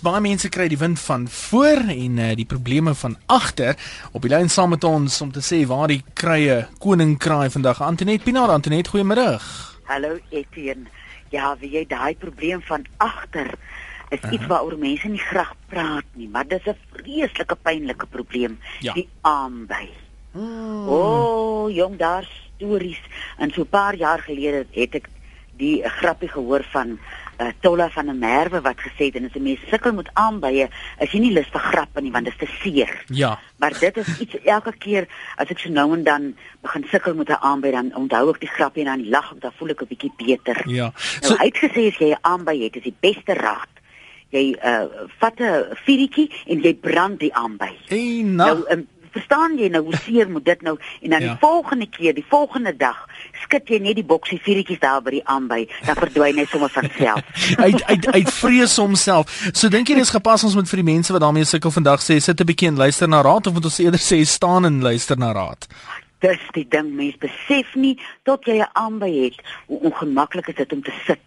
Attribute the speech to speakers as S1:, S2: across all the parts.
S1: Baie mense kry die wind van voor en uh, die probleme van agter. Op die lyn saam met ons om te sê waar die krye koningkraai vandag. Antoinette Pinaar, Antoinette, goeiemiddag.
S2: Hallo Etienne. Ja, weet jy daai probleem van agter is uh -huh. iets waaroor mense nie graag praat nie, maar dis 'n vreeslike pynlike probleem,
S1: Ja.
S2: die aanby. Hmm. O, oh, jong, daar stories. En so 'n paar jaar gelede het ek die grappie gehoor van uh, Tolla van der Merwe wat gesê het en as 'n mens sukkel met aanbye, is jy nie lus vir grappe nie want dit is te seer.
S1: Ja.
S2: Maar dit is iets elke keer as ek so nou en dan begin sukkel met 'n aanbyd dan onthou ek die grappie en dan lag ek, dan voel ek 'n bietjie beter.
S1: Ja.
S2: Nou
S1: So
S2: so, uitgesê as jy 'n aanbyd het, is die beste raad. Jy uh vat 'n vuurtjie en jy brand die aanbyd.
S1: en
S2: Nou
S1: nou,
S2: um, verstaan jy nou hoe seer moet dit nou en dan
S1: Ja.
S2: die volgende keer, die volgende dag, skit jy net die boksie vuurtjies daar by die aanbyd, dan verdwyn hy sommer van self.
S1: uit uit uit vrees homself. So dink jy dis gepas ons moet vir die mense wat daarmee sukkel vandag sê sit 'n bietjie en luister na raad of moet ons eerder sê staan en luister na raad?
S2: Dis die ding mens besef nie tot jy 'n aanby het hoe ongemaklik is dit om te sit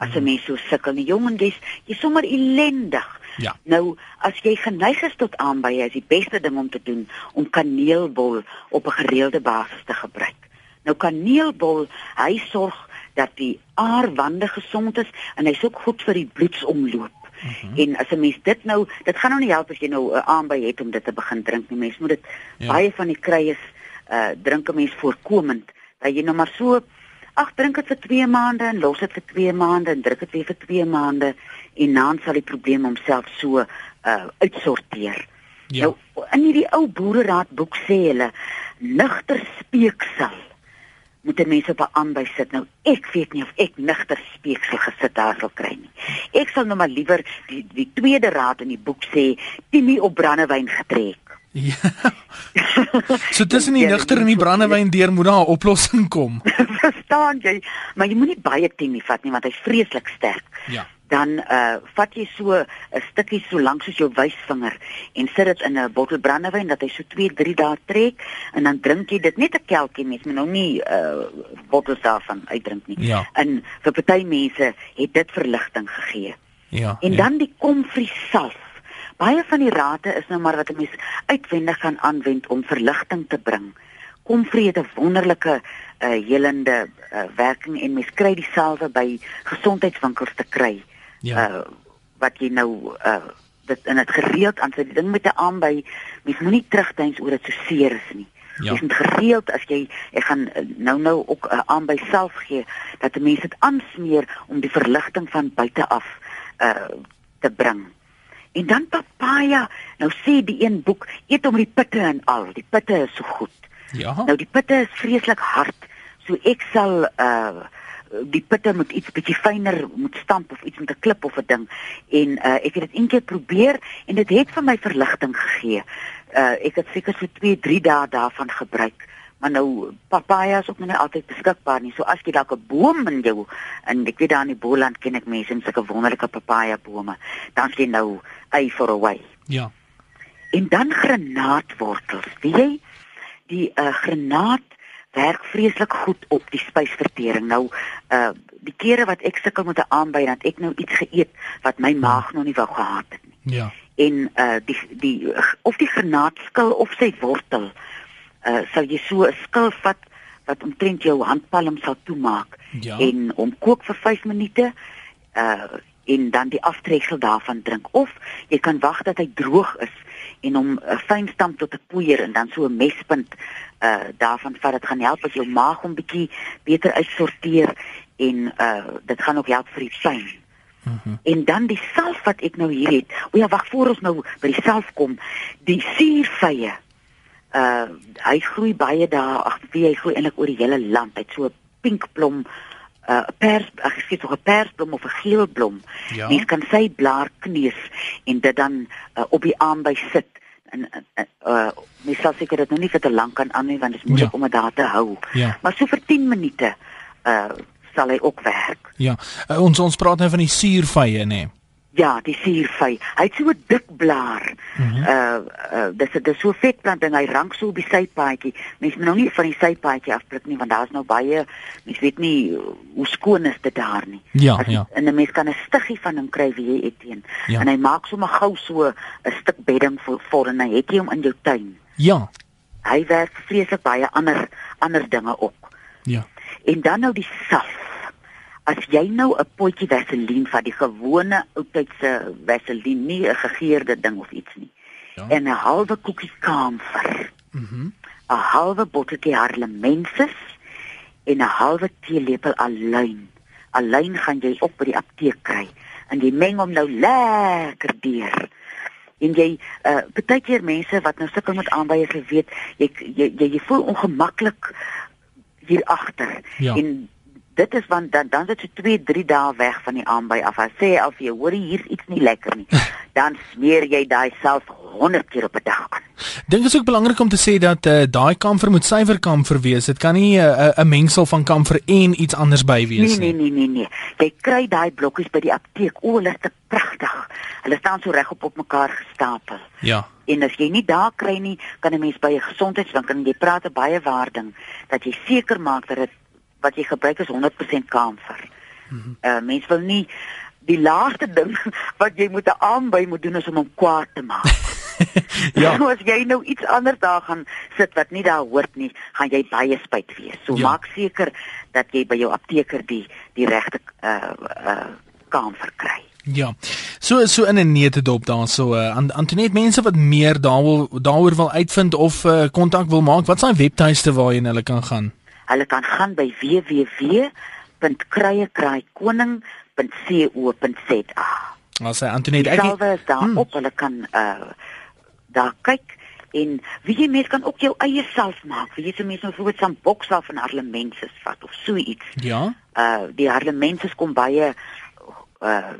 S2: as 'n mens so sukkel. Die jongen dis jy sommer ellendig.
S1: Ja.
S2: Nou as jy geneig is tot aanbye, is die beste ding om te doen om kaneelbol op 'n gereelde basis te gebruik. Nou kaneelbol, hy sorg dat die aarwande gesond is en hy's ook goed vir die bloedsomloop. Uh -huh. En as 'n mens dit nou, dit gaan nou nie help as jy nou 'n aanby het om dit te begin drink nie. Mens moet dit
S1: Ja.
S2: ja. baie van die kruies uh drink 'n mens voorkomend dat jy nou maar so ag drink dit vir 2 maande en los dit vir 2 maande en drink dit weer vir 2 maande en dan sal die probleem homself so uh uitsorteer.
S1: Ja.
S2: Nou in hierdie ou boereraad boek sê hulle nigter speeksel moet die mense op 'n aanby sit. Nou ek weet nie of ek nigter speeksel gesit daar sal kry nie. Ek sal nou maar liewer die die tweede raad in die boek sê Timmy op brandewyn getrek.
S1: Ja. So tussen die
S2: Ja,
S1: nigter en die brandewyn deur moet daar 'n oplossing kom.
S2: verstaan jy, maar jy moenie baie timie vat nie want hy's vreeslik sterk.
S1: Ja.
S2: Dan uh vat jy so 'n stukkie so lank soos jou wysvinger en sit dit in 'n bottel brandewyn dat hy so 2, 3 dae trek en dan drink jy dit net 'n kelkie mens, moet nou nie uh bottels daarvan uitdrink nie.
S1: Ja.
S2: En vir party mense het dit verligting gegee.
S1: Ja.
S2: En
S1: ja.
S2: dan die komfrie salf. Baie van die rate is nou maar wat 'n mens uitwendig gaan aanwend om verligting te bring. Komfrie het 'n wonderlike uh, helende uh, werking en mens kry die salwe by gesondheidswinkels te kry.
S1: Ja.
S2: Uh, wat jy nou uh, dit in dit gereeld aan sy ding met 'n aanby, mens moenie terugdink oor dit so seer is nie.
S1: Ja.
S2: Mens moet gereeld as jy ek gaan eh, nou nou ook uh, aan by self gee dat 'n mens dit aansmeer om die verligting van buite af uh te bring. En dan papaya, nou sê die een boek, eet om die pitte en al, die pitte is so goed.
S1: Ja.
S2: Nou die pitte is vreeslik hard. So ek sal uh die pitte moet iets bietjie fyner moet stamp of iets met 'n klip of 'n ding. En uh ek het dit een keer probeer en dit het vir my verligting gegee. Uh ek het seker so 2, 3 dae daarvan gebruik. Maar nou papaya is ook nog nie altyd beskikbaar nie. So as jy dalk 'n boom in jou en ek weet daar in die Boland ken ek mense met sulke wonderlike papaya bome, dan sien nou eye for away.
S1: Ja.
S2: En dan granaatwortels. Weet jy, die uh, granaat werk vreeslik goed op die spysvertering. Nou uh die kere wat ek sukkel met 'n aanbyd dat ek nou iets geëet wat my maag nog nie wou gehad het nie.
S1: Ja.
S2: En uh die die of die granaatskil of sy wortel uh sal jy so 'n skil vat wat omtrent jou handpalm sal toemaak
S1: Ja.
S2: en hom kook vir 5 minute uh en dan die aftreksel daarvan drink of jy kan wag dat hy droog is en hom uh, fyn stamp tot 'n poeier en dan so 'n mespunt uh daarvan vat dit gaan help as jou maag hom bietjie beter uitsorteer en uh dit gaan ook help vir die pyn. Mm -hmm. En dan die self wat ek nou hier het. O ja, wag voor ons nou by die self kom. Die suurvye uh hy groei baie daar ag wie hy groei eintlik oor die hele land. Hy't so 'n pink blom, 'n uh, pers ag ek sê tog 'n persblom of 'n geel blom.
S1: Ja.
S2: Mens kan sy blaar kneus en dit dan uh, op die arm by sit en uh, uh mens sal seker dit nou nie vir te lank kan aan nie want dit is moeilik
S1: Ja.
S2: ja. om dit daar te hou.
S1: Ja.
S2: Maar so vir 10 minute uh sal hy ook werk.
S1: Eh, Ja. Uh, ons ons praat nou van die suurvye nê. Nee.
S2: Ja, die suurvy. Hy het so 'n dik blaar. Mm
S1: Mhm.
S2: -hmm. Uh uh dis 'n dis so 'n vetplanting. Hy rank so op die sypaadjie. Mense moet nou nie van die sypaadjie afpluk nie want daar's nou baie mense weet nie hoe skoon is dit daar nie.
S1: Ja,
S2: As-
S1: ja.
S2: En 'n mens kan 'n stiggie van hom kry wie jy eet
S1: Ja.
S2: ja. En hy maak sommer gou so 'n stuk bedding vir vir en hy het jy hom in jou tuin.
S1: Ja.
S2: Hy werk vreeslik baie ander ander dinge op.
S1: Ja.
S2: En dan nou die saf. As jy nou 'n potjie vaseline van die gewone oudtydse vaseline, nie 'n gegeurde ding of iets nie.
S1: Ja.
S2: En 'n halwe koekie kamfer,
S1: Mhm.
S2: 'n halwe botteltjie harlemensis en 'n halwe teelepel aluin. Aluin gaan jy op by die apteek kry en jy meng hom nou lekker deur. En jy uh baie keer mense wat nou sukkel met aanwyers, jy weet, jy jy jy, jy voel ongemaklik hier agter.
S1: Ja.
S2: En dit is want dan dan is dit so 2, 3 dae weg van die aanby af. As sê al vir jou, hoor hier's iets nie lekker nie. dan smeer jy daai self 100 keer op 'n dag aan.
S1: Dink dit is ook belangrik om te sê dat eh uh, daai kamfer moet suiwer kamfer wees. Dit kan nie 'n uh, 'n mengsel van kamfer en iets anders by wees
S2: Nee,
S1: nie.
S2: nee, nee, nee, nee. Jy kry daai blokkies by die apteek. O, hulle is te pragtig. Hulle staan so regop op mekaar gestapel.
S1: Ja.
S2: En as jy nie daar kry nie, kan 'n mens by 'n gesondheidswinkel en jy praat 'n baie waarding dat jy seker maak dat dit wat jy gebruik is 100% kamfer. Mm -hmm. uh, mens wil nie die laaste ding wat jy moet 'n aanby moet doen is om hom kwaad te maak.
S1: Ja.
S2: So as jy nou iets anders daar gaan sit wat nie daar hoort nie, gaan jy baie spyt wees. So
S1: Ja.
S2: ja. maak seker dat jy by jou apteker die die regte uh uh kamfer kry.
S1: Ja. So so in 'n netedop daarso uh, aan Antonet mense wat meer daaroor daaroor wil uitvind of eh, kontak uh, wil maak. Wat is daai webtuiste waarheen hulle kan gaan?
S2: Hulle kan gaan by www.kruiekraaiikoning.co.za.
S1: As hy Antonet
S2: Die
S1: ek
S2: salwe is daar hmm. op, hulle kan uh daar kyk en wie jy mens kan ook jou eie self maak. Wie jy so mense nou bijvoorbeeld van boksalf en harlemenses vat of so iets.
S1: Ja.
S2: uh die harlemenses kom baie uh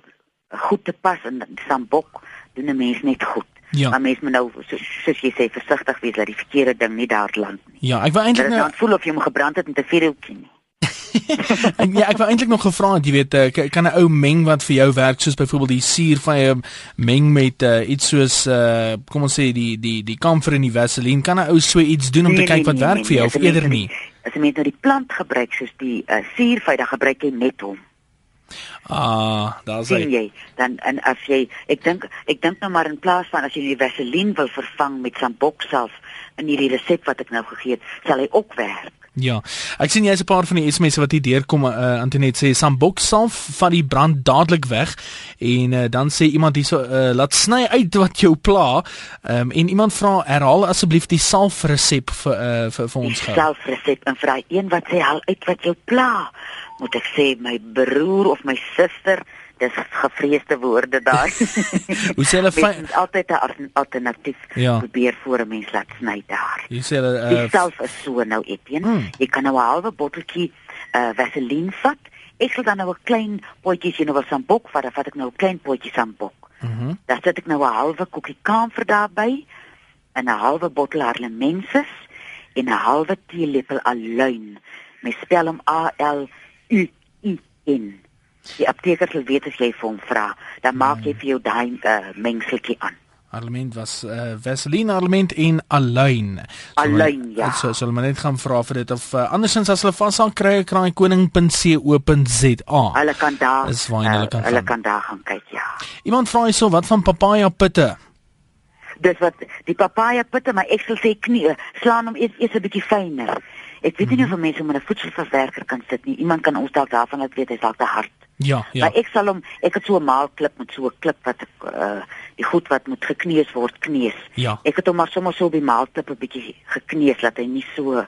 S2: goed te pas in Sambok doen 'n mens net goed.
S1: Ja.
S2: Maar mens moet nou so, soos jy sê versigtig wees dat die verkeerde ding nie daar land nie.
S1: Ja, ek wou
S2: Dat
S1: eintlik
S2: dit
S1: nou,
S2: dan voel of jy hom gebrand het met 'n vuurhoutjie nie.
S1: ek, ja, ek wou eintlik nog gevra het, jy weet, eh, k- kan 'n ou meng wat vir jou werk soos byvoorbeeld die suurvye meng met uh, iets soos uh, kom ons sê die die die kamfer en die vaseline, kan 'n ou so iets doen om
S2: Nee,
S1: te kyk wat werk vir jou of
S2: as 'n mens
S1: eerder
S2: nou
S1: nie?
S2: die- As jy net nou die plant gebruik soos die uh, suurvyt, dan gebruik jy net hom.
S1: Ah, daar's hy.
S2: sien jy dan en as jy ek dink ek dink nou maar in plaas van as jy die vaseline wil vervang met sambok self in hierdie resep wat ek nou gegee het, sal hy ook werk.
S1: Ja. Ek sien jy's 'n paar van die SMS'e wat hier deurkom. Uh, Antonet sê sambok salf van die brand dadelik weg en uh, dan sê iemand hierso uh, laat sny uit wat jou pla. Um, en iemand vra herhaal asseblief die salfresep vir uh, vir, vir ons gou.
S2: selfresep en vra een wat sê haal uit wat jou pla. Moet ek sê my broer of my suster, dis gevreesde woorde daar.
S1: Hoe sê hulle
S2: Mens
S1: fyn
S2: moet altyd 'n al- alternatief
S1: Ja.
S2: probeer voor 'n mens laat sny daar.
S1: Hier sê hulle
S2: Uh,
S1: uh,
S2: Self is so nou Etienne.
S1: Hmm.
S2: Hmm. Jy kan nou 'n halwe botteltjie uh, vaseline vat. Ek sal dan nou 'n klein potjie sien of sambok vat, dan vat ek nou 'n klein potjie sambok.
S1: mhm.
S2: Dan sit ek nou 'n halwe koekie kamfer daarby en 'n halwe bottel harlemensis en 'n halwe teelepel aluin. Mens spel hom A L U I N. Die apteker sal weet as jy vir hom vra, dan maak
S1: Hmm.
S2: jy vir jou daai uh, mengseltjie aan.
S1: Parlement was uh, Vaseline Parlement en Aluin.
S2: Aluin, ja.
S1: So sal hulle net gaan vra vir dit of uh, andersins as hulle vashang kry kraaikoning.co.za.
S2: Hulle kan daar eh,
S1: Dis waar hulle kan
S2: hulle
S1: gaan.
S2: kan daar gaan kyk, ja.
S1: Iemand vra hierso wat van papaja pitte?
S2: Dis wat die papaja pitte, maar ek sal sê knie, slaan hom eers eers 'n bietjie fyner. Ek weet nie of mense met 'n voedselverwerker kan sit nie. Iemand kan ons dalk daarvan laat weet, hy's dalk te hard.
S1: Ja,
S2: Ja.
S1: ja.
S2: Maar ek sal hom ek het so 'n maalklip met so 'n klip wat ek uh die goed wat moet gekneus word kneus.
S1: Ja.
S2: Ek het hom maar sommer so op die maalklip 'n bietjie gekneus dat hy nie so uh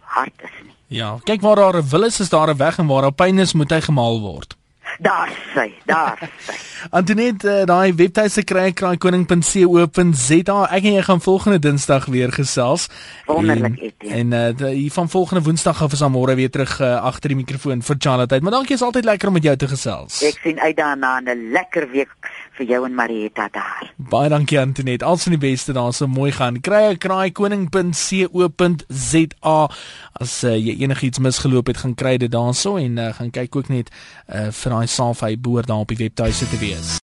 S2: hard is nie.
S1: Ja, kyk waar daar 'n wil is, is daar 'n weg en waar daar pyn is, moet hy gemaal word.
S2: Daar sê, daar sê.
S1: Antonet, uh, daai webtuiste kry kraaikoning.co.za. Ek en jy gaan volgende Dinsdag weer gesels.
S2: Wonderlik,
S1: En,
S2: Etienne.
S1: en uh, d- hier van volgende Woensdag af is aan môre weer terug uh, agter die mikrofoon vir Charlotte. Maar dankie, is altyd lekker om met jou te gesels.
S2: Ek sien uit daarna 'n lekker week vir jou en Marieta daar.
S1: Baie dankie Antonet. Alles van die beste daarso mooi gaan. Krye kraaikoning.co.za as uh, jy enigiets misgeloop het, gaan eh, kry dit daarso en uh, gaan kyk ook net uh, vir daai salf hy behoort daar op die webtuiste te wees.